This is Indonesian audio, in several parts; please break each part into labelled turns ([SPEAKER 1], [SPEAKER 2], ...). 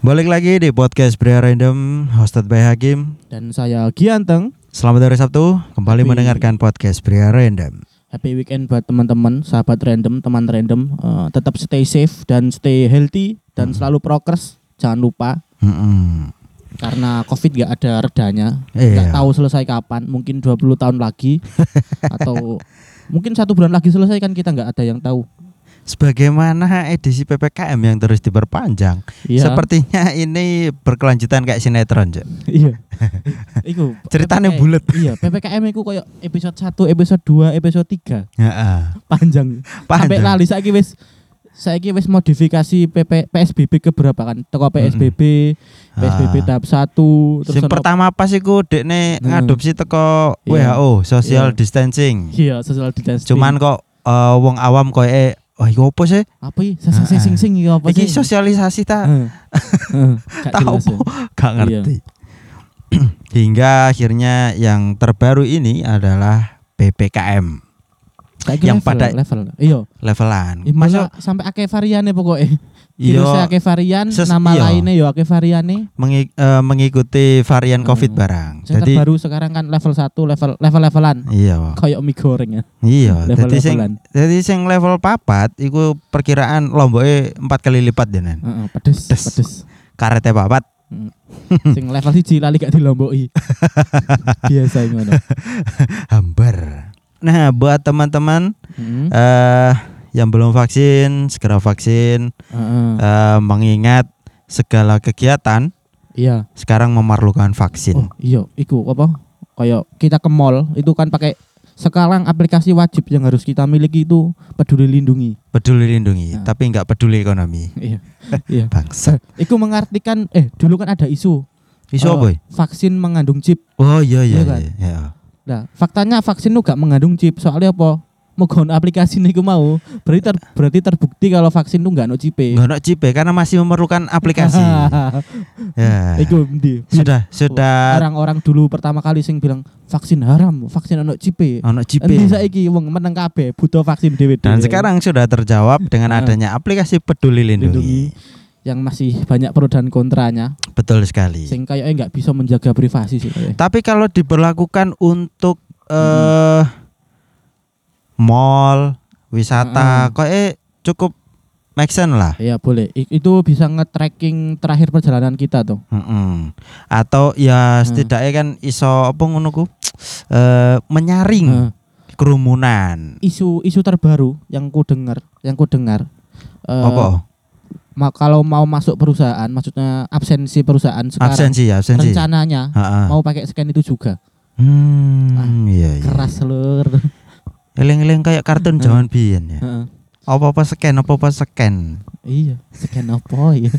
[SPEAKER 1] Balik lagi di podcast Bria Random hosted by Hakim.
[SPEAKER 2] Dan saya Gianteng.
[SPEAKER 1] Selamat hari Sabtu, kembali
[SPEAKER 2] Happy-
[SPEAKER 1] mendengarkan podcast Bria Random.
[SPEAKER 2] Happy weekend buat teman-teman, sahabat random, teman random. Eh, tetap stay safe dan stay healthy dan selalu prokes. Jangan lupa
[SPEAKER 1] Mm-mm.
[SPEAKER 2] karena COVID nggak ada redanya.
[SPEAKER 1] Iya.
[SPEAKER 2] Nggak tahu selesai kapan. Mungkin 20 tahun lagi atau mungkin satu bulan lagi selesai kan kita nggak ada yang tahu.
[SPEAKER 1] Sebagaimana edisi PPKM yang terus diperpanjang, sepertinya ini berkelanjutan kayak sinetron, Cok.
[SPEAKER 2] Iya. Iku
[SPEAKER 1] Ceritanya
[SPEAKER 2] PPKM
[SPEAKER 1] bulat.
[SPEAKER 2] Iya, PPKM itu koyo episode 1, episode 2, episode 3.
[SPEAKER 1] Heeh.
[SPEAKER 2] Panjang. Sampai
[SPEAKER 1] Panjang.
[SPEAKER 2] lali saiki wis saiki wis modifikasi PP, PSBB ke berapa kan? Teko PSBB, PSBB
[SPEAKER 1] Hmm. Ah.
[SPEAKER 2] tahap 1, terus
[SPEAKER 1] Sing
[SPEAKER 2] ono-
[SPEAKER 1] pertama pas iku dekne
[SPEAKER 2] Hmm.
[SPEAKER 1] ngadopsi teko
[SPEAKER 2] Iya.
[SPEAKER 1] WHO, social
[SPEAKER 2] Iya.
[SPEAKER 1] distancing.
[SPEAKER 2] iya social distancing.
[SPEAKER 1] Cuman kok eh, wong awam koe Wah, iku apa sih?
[SPEAKER 2] apa iki? Sing sing sing sing iki apa
[SPEAKER 1] Ah, Iki
[SPEAKER 2] sih?
[SPEAKER 1] sosialisasi ta?
[SPEAKER 2] Heeh. Heeh. Gak
[SPEAKER 1] Tahu
[SPEAKER 2] jelas ya.
[SPEAKER 1] Gak ngerti. Hingga akhirnya yang terbaru ini adalah PPKM
[SPEAKER 2] Saiki
[SPEAKER 1] Yang
[SPEAKER 2] level,
[SPEAKER 1] pada-
[SPEAKER 2] level. Iya.
[SPEAKER 1] levelan.
[SPEAKER 2] Iya,
[SPEAKER 1] Masa
[SPEAKER 2] pokok sampai akeh variane pokoknya. Virusnya
[SPEAKER 1] iya
[SPEAKER 2] akeh varian,
[SPEAKER 1] Ses-
[SPEAKER 2] nama
[SPEAKER 1] iya.
[SPEAKER 2] lainnya yo akeh variane.
[SPEAKER 1] mengi- eh, mengikuti varian
[SPEAKER 2] Hmm.
[SPEAKER 1] Covid barang.
[SPEAKER 2] Yang
[SPEAKER 1] Jadi
[SPEAKER 2] terbaru sekarang kan level 1, level level levelan.
[SPEAKER 1] iya.
[SPEAKER 2] Kayak mie goreng ya.
[SPEAKER 1] Iya,
[SPEAKER 2] Level
[SPEAKER 1] jadi sing
[SPEAKER 2] levelan.
[SPEAKER 1] jadi sing level papat iku perkiraan lomboke empat kali lipat denan.
[SPEAKER 2] Heeh, pedes,
[SPEAKER 1] Pedes.
[SPEAKER 2] pedes.
[SPEAKER 1] Karete papat.
[SPEAKER 2] Hmm. Sing level siji lali gak dilomboki. Biasa ngono.
[SPEAKER 1] hambar. Nah, buat teman-teman
[SPEAKER 2] Heeh.
[SPEAKER 1] eh yang belum vaksin segera vaksin
[SPEAKER 2] Heeh.
[SPEAKER 1] Eh, mengingat segala kegiatan
[SPEAKER 2] Iya.
[SPEAKER 1] sekarang memerlukan vaksin.
[SPEAKER 2] Oh, iya, iku apa? Kayak kita ke mall itu kan pakai sekarang aplikasi wajib yang harus kita miliki itu Peduli Lindungi.
[SPEAKER 1] Peduli lindungi,
[SPEAKER 2] Nah.
[SPEAKER 1] tapi nggak peduli ekonomi.
[SPEAKER 2] Iya. Iya.
[SPEAKER 1] Bangsa.
[SPEAKER 2] Iku mengartikan eh dulu kan ada isu
[SPEAKER 1] Isu
[SPEAKER 2] Eh,
[SPEAKER 1] apa? ya?
[SPEAKER 2] vaksin mengandung chip.
[SPEAKER 1] Oh iya iya
[SPEAKER 2] iya kan?
[SPEAKER 1] iya. iya.
[SPEAKER 2] Nah, faktanya vaksin itu gak mengandung chip. Soalnya apa? Mau aplikasi niku mau berarti ter- berarti terbukti kalau vaksin itu gak no chip.
[SPEAKER 1] Nggak ada chip ya, karena masih memerlukan aplikasi. ya.
[SPEAKER 2] Iku ndi?
[SPEAKER 1] Sudah sudah
[SPEAKER 2] orang-orang dulu pertama kali sing bilang vaksin haram, vaksin ono cipe.
[SPEAKER 1] ono chip.
[SPEAKER 2] Endi saiki wong meneng kabeh butuh vaksin dhewe.
[SPEAKER 1] Ah, Dan sekarang sudah terjawab dengan
[SPEAKER 2] gitu. Ah.
[SPEAKER 1] adanya aplikasi Peduli Lindungi.
[SPEAKER 2] Lindungi. yang masih banyak pro dan kontranya
[SPEAKER 1] Betul sekali.
[SPEAKER 2] sing kayaknya nggak bisa menjaga privasi sih kayaknya.
[SPEAKER 1] Tapi kalau diberlakukan untuk eh
[SPEAKER 2] Mm.
[SPEAKER 1] mall, wisata,
[SPEAKER 2] Ah.
[SPEAKER 1] kok eh, cukup make sense lah.
[SPEAKER 2] Iya boleh. I- itu bisa nge-tracking terakhir perjalanan kita tuh.
[SPEAKER 1] Mm-mm. Atau
[SPEAKER 2] Hmm.
[SPEAKER 1] ya setidaknya kan iso apa ngono ku eh, menyaring
[SPEAKER 2] Nah,
[SPEAKER 1] kerumunan.
[SPEAKER 2] isu isu terbaru yang ku dengar, yang ku dengar. eh,
[SPEAKER 1] apa?
[SPEAKER 2] ma- kalau mau masuk perusahaan, maksudnya absensi perusahaan sekarang
[SPEAKER 1] Absensi Ah. ya, absensi.
[SPEAKER 2] rencananya
[SPEAKER 1] Ha-ha.
[SPEAKER 2] mau pakai scan itu juga.
[SPEAKER 1] Hmm,
[SPEAKER 2] Oh. Ah,
[SPEAKER 1] iya iya.
[SPEAKER 2] Keras lur.
[SPEAKER 1] Eling-eling kayak kartun
[SPEAKER 2] Hmm.
[SPEAKER 1] jaman biyen ya.
[SPEAKER 2] Heeh.
[SPEAKER 1] Apa-apa scan, apa-apa scan.
[SPEAKER 2] Iya, scan apa ya?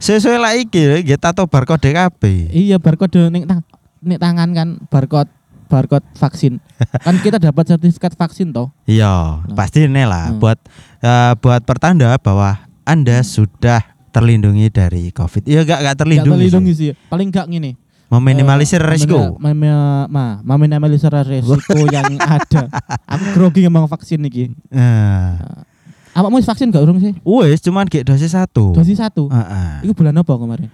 [SPEAKER 1] Sesuai lah iki, nggih tato barcode kabeh.
[SPEAKER 2] iya, barcode ning tang ning tangan kan barcode barcode vaksin. Kan kita dapat sertifikat vaksin toh.
[SPEAKER 1] Iya, pasti ini lah
[SPEAKER 2] Hmm.
[SPEAKER 1] buat eh, buat pertanda bahwa Anda sudah terlindungi dari Covid. Iya enggak enggak
[SPEAKER 2] Nggak
[SPEAKER 1] terlindungi.
[SPEAKER 2] terlindungi
[SPEAKER 1] sih.
[SPEAKER 2] sih. Paling enggak ngene.
[SPEAKER 1] Meminimalisir
[SPEAKER 2] eh,
[SPEAKER 1] resiko.
[SPEAKER 2] memina- mem- ma- Meminimalisir resiko yang ada. Aku grogi ngomong vaksin iki. Ah.
[SPEAKER 1] Eh.
[SPEAKER 2] Awakmu wis vaksin gak urung sih?
[SPEAKER 1] Wes cuman gek dosis satu.
[SPEAKER 2] Dosis satu.
[SPEAKER 1] Heeh.
[SPEAKER 2] Iku bulan apa kemarin?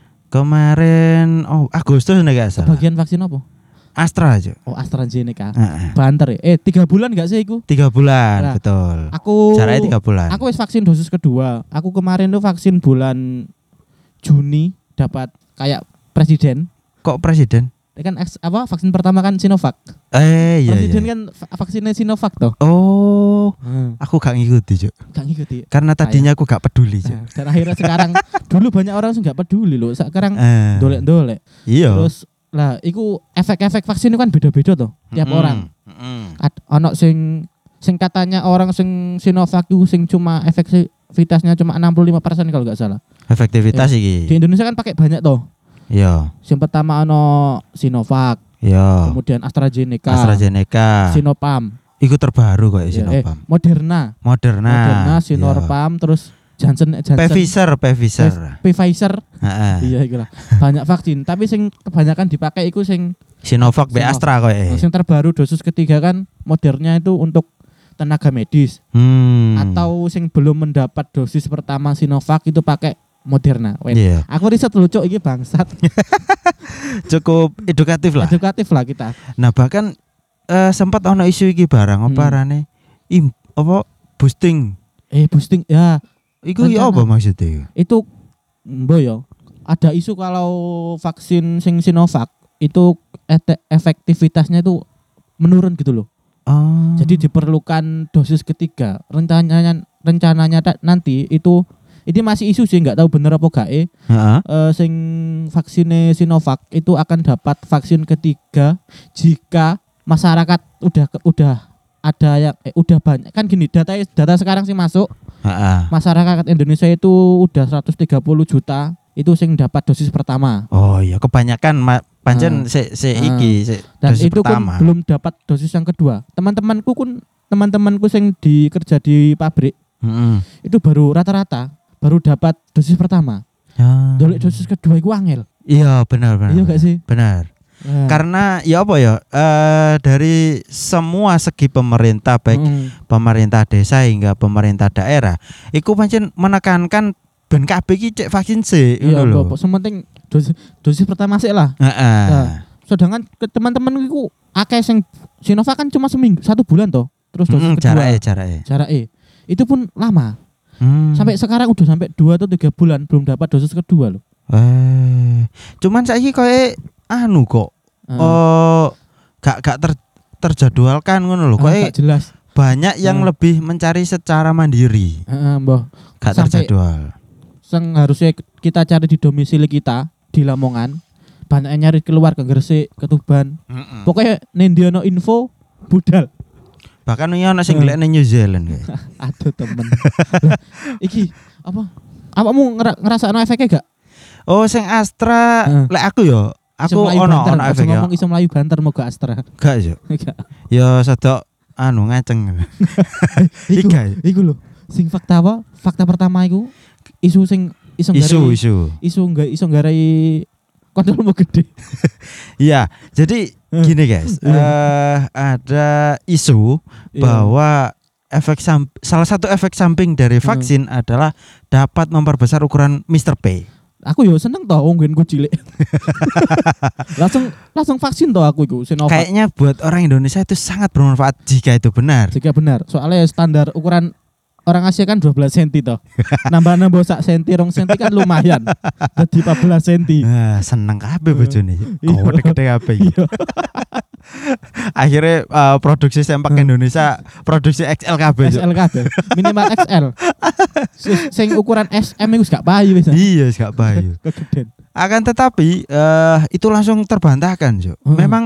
[SPEAKER 1] Kemarin oh Agustus nih gak salah.
[SPEAKER 2] Bagian vaksin apa?
[SPEAKER 1] Astra aja.
[SPEAKER 2] Oh, AstraZeneca.
[SPEAKER 1] Heeh.
[SPEAKER 2] Banter ya. Eh, tiga bulan gak sih iku?
[SPEAKER 1] Tiga bulan
[SPEAKER 2] Nah,
[SPEAKER 1] betul.
[SPEAKER 2] Aku
[SPEAKER 1] Caranya tiga bulan.
[SPEAKER 2] Aku wis vaksin dosis kedua. Aku kemarin tuh vaksin bulan Juni dapat kayak presiden.
[SPEAKER 1] Kok presiden?
[SPEAKER 2] Ya Kan eks- apa vaksin pertama kan Sinovac.
[SPEAKER 1] Eh iya
[SPEAKER 2] presiden
[SPEAKER 1] iya.
[SPEAKER 2] kan va- vaksinnya Sinovac toh.
[SPEAKER 1] Oh, aku gak ngikuti Cuk.
[SPEAKER 2] Gak ngikuti.
[SPEAKER 1] Karena
[SPEAKER 2] iya.
[SPEAKER 1] tadinya aku gak peduli Cuk.
[SPEAKER 2] Nah, dan akhirnya sekarang dulu banyak orang sih nggak peduli loh. Sekarang
[SPEAKER 1] Eh,
[SPEAKER 2] dolek-dolek.
[SPEAKER 1] Iya.
[SPEAKER 2] Terus lah iku efek-efek vaksin itu kan beda-beda toh tiap
[SPEAKER 1] Mm-mm,
[SPEAKER 2] orang.
[SPEAKER 1] mm-mm.
[SPEAKER 2] Ad, ono sing sing katanya orang sing Sinovac itu sing cuma efektivitasnya cuma 65% kalau nggak salah.
[SPEAKER 1] Efektivitas
[SPEAKER 2] Di
[SPEAKER 1] iki.
[SPEAKER 2] Indonesia kan pakai banyak toh.
[SPEAKER 1] Iya.
[SPEAKER 2] Yang pertama ono Sinovac,
[SPEAKER 1] Iya.
[SPEAKER 2] kemudian AstraZeneca,
[SPEAKER 1] AstraZeneca.
[SPEAKER 2] Sinopharm,
[SPEAKER 1] Iku terbaru kok ya,
[SPEAKER 2] ya,
[SPEAKER 1] Sinopharm.
[SPEAKER 2] eh, Moderna,
[SPEAKER 1] Moderna.
[SPEAKER 2] Moderna,
[SPEAKER 1] iya.
[SPEAKER 2] Sinopharm, terus Johnson and Johnson,
[SPEAKER 1] Pfizer, Nah. Pfizer.
[SPEAKER 2] Pfizer,
[SPEAKER 1] Heeh.
[SPEAKER 2] iya iku lah. Banyak vaksin, tapi sing kebanyakan dipakai iku sing
[SPEAKER 1] Sinovac be
[SPEAKER 2] Sinovac.
[SPEAKER 1] Astra kok ya.
[SPEAKER 2] sing terbaru dosis ketiga kan Moderna itu untuk tenaga medis
[SPEAKER 1] Hmm.
[SPEAKER 2] atau sing belum mendapat dosis pertama Sinovac itu pakai Moderna. Wait.
[SPEAKER 1] Iya.
[SPEAKER 2] Aku riset lucu ini bangsat.
[SPEAKER 1] Cukup edukatif lah.
[SPEAKER 2] Edukatif lah kita.
[SPEAKER 1] Nah, bahkan eh, sempat ono isu iki barang apa
[SPEAKER 2] Hmm.
[SPEAKER 1] arane? Im apa boosting.
[SPEAKER 2] Eh boosting ya
[SPEAKER 1] Iku ya apa
[SPEAKER 2] Rencana.
[SPEAKER 1] maksudnya?
[SPEAKER 2] itu boyo. Ada isu kalau vaksin sing Sinovac itu ete- efektivitasnya itu menurun gitu loh.
[SPEAKER 1] Oh.
[SPEAKER 2] Jadi diperlukan dosis ketiga. Rencananya rencananya ta- nanti itu ini masih isu sih nggak tahu bener apa gak eh.
[SPEAKER 1] Heeh.
[SPEAKER 2] Eh, sing vaksinnya Sinovac itu akan dapat vaksin ketiga jika masyarakat udah ke- udah ada yang eh, udah banyak kan gini data data sekarang sih masuk
[SPEAKER 1] Heeh.
[SPEAKER 2] masyarakat Indonesia itu udah 130 juta itu sing dapat dosis pertama
[SPEAKER 1] Oh iya, kebanyakan ma- pancen se se
[SPEAKER 2] Ah.
[SPEAKER 1] iki se
[SPEAKER 2] dan
[SPEAKER 1] dosis
[SPEAKER 2] itu
[SPEAKER 1] pertama.
[SPEAKER 2] pun belum dapat dosis yang kedua teman-temanku kun teman-temanku sing di kerja di pabrik
[SPEAKER 1] Heeh.
[SPEAKER 2] itu baru rata-rata baru dapat dosis pertama
[SPEAKER 1] Ah.
[SPEAKER 2] dolek dosis kedua itu angel
[SPEAKER 1] Iya, benar benar.
[SPEAKER 2] iya gak sih
[SPEAKER 1] Benar.
[SPEAKER 2] Nah.
[SPEAKER 1] Karena ya apa ya? Eh dari semua segi pemerintah baik
[SPEAKER 2] Mm.
[SPEAKER 1] pemerintah desa hingga pemerintah daerah iku pancen menekankan ben kabeh iki cek vaksin sih ngono
[SPEAKER 2] Iya,
[SPEAKER 1] lho.
[SPEAKER 2] Bapak. Sementing dosis, dosis pertama sih lah.
[SPEAKER 1] Heeh. Hmm,
[SPEAKER 2] Nah. Sedangkan ke teman-teman iku akeh sing Sinovac kan cuma seminggu, satu bulan toh. Terus dosis
[SPEAKER 1] Mm,
[SPEAKER 2] kedua.
[SPEAKER 1] Jarake jarake.
[SPEAKER 2] Jarake. Itu pun lama.
[SPEAKER 1] Hmm.
[SPEAKER 2] Sampai sekarang udah sampai dua atau tiga bulan belum dapat dosis kedua loh.
[SPEAKER 1] eh cuman saiki koyo anu kok
[SPEAKER 2] Heeh.
[SPEAKER 1] oh gak gak ter- terjadwalkan ngono lho.
[SPEAKER 2] Ah,
[SPEAKER 1] Koyo
[SPEAKER 2] gak jelas.
[SPEAKER 1] banyak yang
[SPEAKER 2] Hmm.
[SPEAKER 1] lebih mencari secara mandiri,
[SPEAKER 2] Heeh, Ah, Mbah.
[SPEAKER 1] gak
[SPEAKER 2] Sampai-
[SPEAKER 1] terjadwal.
[SPEAKER 2] Sing harusnya kita cari di domisili kita di Lamongan. Banyak yang nyari keluar ke Gresik, ke Tuban.
[SPEAKER 1] Mm-mm.
[SPEAKER 2] Pokoknya nendiono info budal.
[SPEAKER 1] Bahkan ini ana sing
[SPEAKER 2] Hmm.
[SPEAKER 1] gelek nang New Zealand kayak.
[SPEAKER 2] Aduh temen. Lah, iki apa? Apa mu ngera ngerasa efeknya gak?
[SPEAKER 1] Oh, sing Astra
[SPEAKER 2] Hmm.
[SPEAKER 1] lek aku yo aku ono ono efek
[SPEAKER 2] efek
[SPEAKER 1] yo.
[SPEAKER 2] ngomong iso melayu banter moga Astra.
[SPEAKER 1] Gak yo.
[SPEAKER 2] Gak.
[SPEAKER 1] Ya sedok anu ngaceng.
[SPEAKER 2] iku,
[SPEAKER 1] Iga.
[SPEAKER 2] iku lho. Sing fakta apa? Fakta pertama iku isu sing iso
[SPEAKER 1] Isu
[SPEAKER 2] nggarai-
[SPEAKER 1] isu.
[SPEAKER 2] isu enggak iso nggarai kontrol mau gede.
[SPEAKER 1] Iya, jadi
[SPEAKER 2] Hmm. Iya.
[SPEAKER 1] gini guys. Eh ada isu bahwa efek sam- salah satu efek samping dari
[SPEAKER 2] Hmm.
[SPEAKER 1] vaksin adalah dapat memperbesar ukuran Mr. P.
[SPEAKER 2] aku yo seneng toh wong genku cilik. langsung langsung vaksin toh aku iku Sinovac.
[SPEAKER 1] Kayaknya buat orang Indonesia itu sangat bermanfaat jika itu benar.
[SPEAKER 2] Jika benar, soalnya standar ukuran orang Asia kan 12 cm toh. Nambah-nambah sak senti, rong senti kan lumayan. Jadi 14 cm.
[SPEAKER 1] Nah, seneng kabeh bojone.
[SPEAKER 2] Iya.
[SPEAKER 1] Kode gede kabeh. iki.
[SPEAKER 2] Iya.
[SPEAKER 1] Akhirnya eh, produksi sempak
[SPEAKER 2] Hmm.
[SPEAKER 1] Indonesia produksi XL kabeh. Cuk.
[SPEAKER 2] XL kabeh. Minimal XL. S- Sing ukuran SM iku gak payu wis.
[SPEAKER 1] Iya, wis gak payu.
[SPEAKER 2] Kegeden.
[SPEAKER 1] Akan tetapi eh itu langsung terbantahkan, Cuk.
[SPEAKER 2] Hmm.
[SPEAKER 1] Memang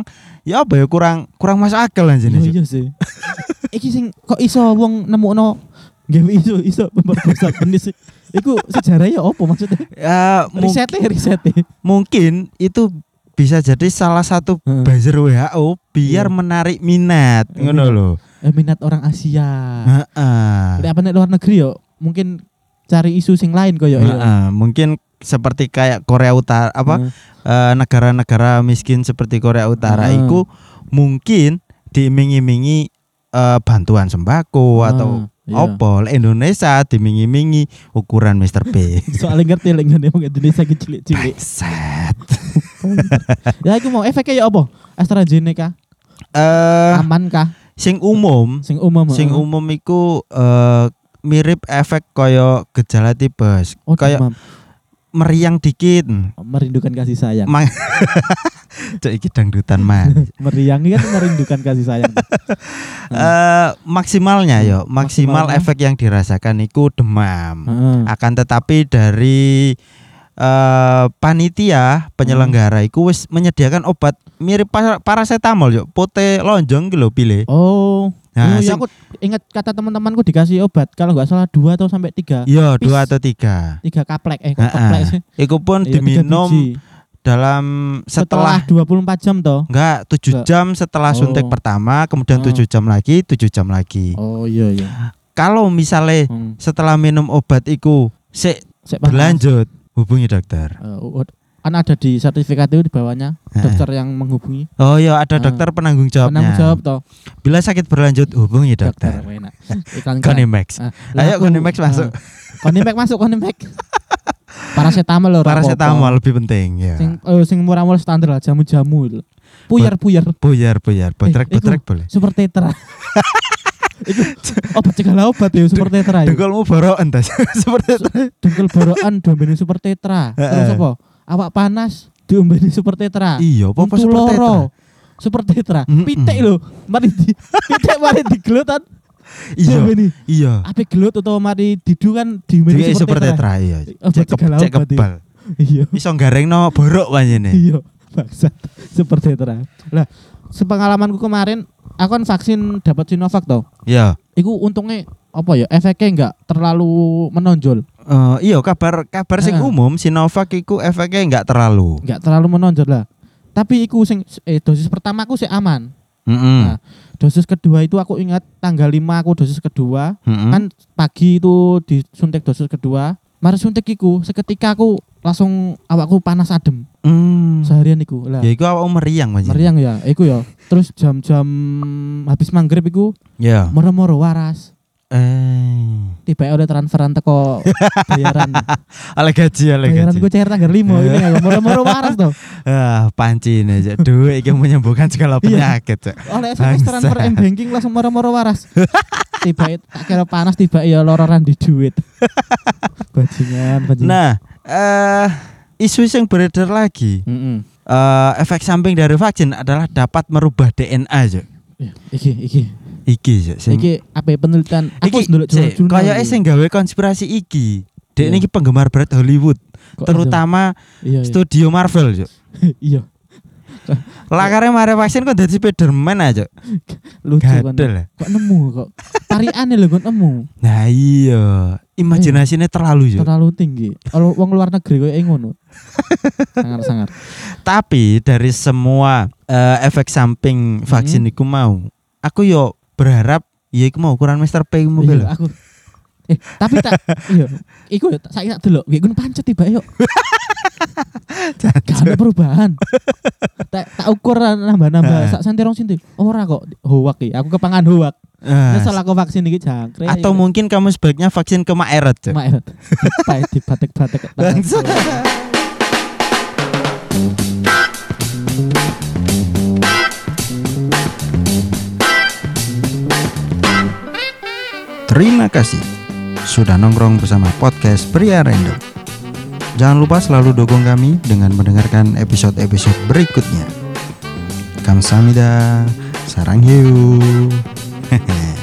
[SPEAKER 1] ya apa ya kurang kurang masuk akal anjene, Cuk.
[SPEAKER 2] Iya sih. Iki sing kok iso wong nemukno gawe iso iso pemerkosa jenis sih. Iku sejarahnya opo maksudnya?
[SPEAKER 1] Eh, mung-
[SPEAKER 2] Risete risete.
[SPEAKER 1] mungkin itu bisa jadi salah satu
[SPEAKER 2] Heeh.
[SPEAKER 1] buzzer WHO biar
[SPEAKER 2] Hmm. Iya.
[SPEAKER 1] menarik minat,
[SPEAKER 2] Iya.
[SPEAKER 1] ngono lho.
[SPEAKER 2] Eh, minat orang Asia.
[SPEAKER 1] Heeh.
[SPEAKER 2] Lek apa nek luar negeri yo mungkin cari isu sing lain koyo yo.
[SPEAKER 1] Heeh, mungkin seperti kayak Korea Utara apa
[SPEAKER 2] Heeh.
[SPEAKER 1] eh, negara-negara miskin seperti Korea Utara
[SPEAKER 2] Heeh.
[SPEAKER 1] itu mungkin diiming-imingi eh, bantuan sembako
[SPEAKER 2] Heeh,
[SPEAKER 1] atau
[SPEAKER 2] iya.
[SPEAKER 1] opo Lek Indonesia diiming-imingi ukuran Mr. P.
[SPEAKER 2] Soalnya ngerti lek ngene wong Indonesia iki cilik-cilik.
[SPEAKER 1] Set.
[SPEAKER 2] ya iku mau efeknya ya opo? AstraZeneca
[SPEAKER 1] Eh
[SPEAKER 2] aman kah?
[SPEAKER 1] sing umum,
[SPEAKER 2] Sing umum.
[SPEAKER 1] sing um-
[SPEAKER 2] heeh.
[SPEAKER 1] umum iku eh, mirip efek koyo gejala tipes.
[SPEAKER 2] Oh,
[SPEAKER 1] Kayak
[SPEAKER 2] demam.
[SPEAKER 1] meriang dikit.
[SPEAKER 2] merindukan kasih sayang.
[SPEAKER 1] Mang Cuk iki dangdutan man.
[SPEAKER 2] Meriang kan merindukan kasih sayang.
[SPEAKER 1] Eh, maksimalnya yo, maksimal
[SPEAKER 2] Maksimalnya.
[SPEAKER 1] efek yang dirasakan iku demam.
[SPEAKER 2] Heeh.
[SPEAKER 1] Akan tetapi dari eh, panitia penyelenggara iku wis menyediakan obat mirip par- paracetamol yo, pote lonjong gitu lho pilih.
[SPEAKER 2] Oh,
[SPEAKER 1] Nah,
[SPEAKER 2] iya, iya,
[SPEAKER 1] sing-
[SPEAKER 2] aku ingat kata teman-temanku dikasih obat kalau nggak salah dua atau sampai tiga,
[SPEAKER 1] Iya, dua
[SPEAKER 2] Pis.
[SPEAKER 1] atau tiga.
[SPEAKER 2] tiga kaplek eh
[SPEAKER 1] Heeh.
[SPEAKER 2] kaplek sih.
[SPEAKER 1] Iku pun
[SPEAKER 2] Iya, tiga
[SPEAKER 1] diminum
[SPEAKER 2] biji.
[SPEAKER 1] dalam setelah
[SPEAKER 2] setelah 24 jam toh.
[SPEAKER 1] enggak tujuh
[SPEAKER 2] Enggak.
[SPEAKER 1] jam setelah suntik
[SPEAKER 2] Oh.
[SPEAKER 1] pertama, kemudian
[SPEAKER 2] Ah.
[SPEAKER 1] tujuh jam lagi, tujuh jam lagi.
[SPEAKER 2] Oh iya iya.
[SPEAKER 1] Kalau misalnya
[SPEAKER 2] Hmm.
[SPEAKER 1] setelah minum obat iku sik
[SPEAKER 2] Sek panas.
[SPEAKER 1] berlanjut, hubungi dokter.
[SPEAKER 2] Eh, u- kan ada di sertifikat itu di bawahnya dokter yang menghubungi
[SPEAKER 1] Oh iya ada
[SPEAKER 2] Ah.
[SPEAKER 1] dokter penanggung jawabnya.
[SPEAKER 2] penanggung jawab toh
[SPEAKER 1] Bila sakit berlanjut hubungi dokter.
[SPEAKER 2] enak iklan iklan.
[SPEAKER 1] Konimax.
[SPEAKER 2] Ah,
[SPEAKER 1] Ayo
[SPEAKER 2] laku-
[SPEAKER 1] Konimax masuk.
[SPEAKER 2] ah. Konimax masuk Konimax Paracetamol lho.
[SPEAKER 1] Paracetamol lebih penting ya.
[SPEAKER 2] Sing eh, sing murah-murah standar lah jamu-jamu itu. Puyer-puyer.
[SPEAKER 1] Buyar buyar, botrek
[SPEAKER 2] Eh, iku-
[SPEAKER 1] botrek boleh.
[SPEAKER 2] Super tetra. Iku obat segala obat ya super tetra ya.
[SPEAKER 1] Dengkulmu borokan tas. Seperti itu.
[SPEAKER 2] Dengkul borokan diombeni super tetra. Terus
[SPEAKER 1] Heeh.
[SPEAKER 2] apa? Awak panas diombeni super tetra.
[SPEAKER 1] Iya, apa
[SPEAKER 2] Untu
[SPEAKER 1] seperti itu.
[SPEAKER 2] loro. Super tetra.
[SPEAKER 1] Mm-mm.
[SPEAKER 2] Pitik lho. Mari di pitik mari digelutan.
[SPEAKER 1] Iya,
[SPEAKER 2] Diombeni.
[SPEAKER 1] iya.
[SPEAKER 2] Ape gelut atau mari didu kan
[SPEAKER 1] Jadi
[SPEAKER 2] diombeni
[SPEAKER 1] super
[SPEAKER 2] super tetra.
[SPEAKER 1] tetra iya.
[SPEAKER 2] Obat
[SPEAKER 1] Cek ke-
[SPEAKER 2] segala
[SPEAKER 1] cek
[SPEAKER 2] obat, iya.
[SPEAKER 1] kebal.
[SPEAKER 2] Iya.
[SPEAKER 1] Iso garengno borok panjene.
[SPEAKER 2] Iya, bangsat. Seperti itu. Lah, sepengalamanku kemarin, aku kan vaksin dapat Sinovac toh.
[SPEAKER 1] Iya.
[SPEAKER 2] Iku untungnya apa ya? Efeknya enggak terlalu menonjol,
[SPEAKER 1] Eh, iya kabar kabar sing
[SPEAKER 2] Heeh.
[SPEAKER 1] umum Sinovac iku efeknya nggak terlalu.
[SPEAKER 2] enggak terlalu menonjol lah. Tapi iku sing eh, dosis pertamaku sih aman.
[SPEAKER 1] Heeh.
[SPEAKER 2] Nah, Dosis kedua itu aku ingat tanggal 5 aku dosis kedua,
[SPEAKER 1] Heeh.
[SPEAKER 2] kan pagi itu disuntik dosis kedua. Mari suntik iku, seketika aku langsung awakku panas adem
[SPEAKER 1] Hmm.
[SPEAKER 2] seharian iku. Lah,
[SPEAKER 1] Ya iku awakmu meriang panjene.
[SPEAKER 2] meriang ya, iku ya. Terus jam-jam habis maghrib iku
[SPEAKER 1] Ya.
[SPEAKER 2] moro-moro waras.
[SPEAKER 1] Eh.
[SPEAKER 2] tiba oleh transferan teko bayaran
[SPEAKER 1] Ale gaji ale
[SPEAKER 2] bayaran
[SPEAKER 1] gaji.
[SPEAKER 2] gue cair tanggal lima ini nggak moro moro waras tuh
[SPEAKER 1] Ah, panci ini aja. Duit iki menyembuhkan
[SPEAKER 2] Iya.
[SPEAKER 1] segala penyakit, Cok.
[SPEAKER 2] oleh sms
[SPEAKER 1] Bangsat.
[SPEAKER 2] transfer m banking langsung moro moro waras tiba tak kira panas tiba ya lororan di duit bajingan bajingan
[SPEAKER 1] Nah, eh isu yang beredar lagi.
[SPEAKER 2] Mm-mm.
[SPEAKER 1] Eh, efek samping dari vaksin adalah dapat merubah DNA, Cok.
[SPEAKER 2] Iya, iki iki
[SPEAKER 1] Iki, Cok. Sing,
[SPEAKER 2] iki apa ya, penelitian aku
[SPEAKER 1] iki,
[SPEAKER 2] dulu
[SPEAKER 1] Cok, kayaknya sing gawe konspirasi iki. Dek
[SPEAKER 2] Iya.
[SPEAKER 1] ini penggemar berat Hollywood, terutama
[SPEAKER 2] iya iya.
[SPEAKER 1] studio Marvel, Cok.
[SPEAKER 2] iya
[SPEAKER 1] Lakarnya mare vaksin kok dari Spiderman aja, Cok.
[SPEAKER 2] lucu kan
[SPEAKER 1] Gadel. ya.
[SPEAKER 2] kok nemu kok tariannya lho kok nemu
[SPEAKER 1] Nah, iya. Imajinasinya terlalu, Cok.
[SPEAKER 2] terlalu tinggi kalau uang luar negeri kok ngono sangar sangar
[SPEAKER 1] Tapi dari semua eh, efek
[SPEAKER 2] Mhm.
[SPEAKER 1] samping vaksin iku mau, aku yo berharap ya iku mau ukuran Mr. P mu
[SPEAKER 2] Iya,
[SPEAKER 1] lho.
[SPEAKER 2] aku. Eh, tapi tak iya. Iku ya, saiki tak delok, gue pancet tiba yuk. Gak ada perubahan. tak tak ukur
[SPEAKER 1] Heeh.
[SPEAKER 2] nambah-nambah sak senti rong senti. Ora kok hoak iki. Aku kepangan hoak.
[SPEAKER 1] Eh,
[SPEAKER 2] Nyesel aku vaksin iki jangkrik.
[SPEAKER 1] atau mungkin kamu sebaiknya vaksin ke Maeret. Cuk.
[SPEAKER 2] Maet. Dipae dibatek-batek. tak
[SPEAKER 1] Bangsa.
[SPEAKER 2] langsung.
[SPEAKER 1] Terima kasih sudah nongkrong bersama podcast Pria Random. Jangan lupa selalu dukung kami dengan mendengarkan episode-episode berikutnya. Kamsahamnida, sarang hiu. Hehehe.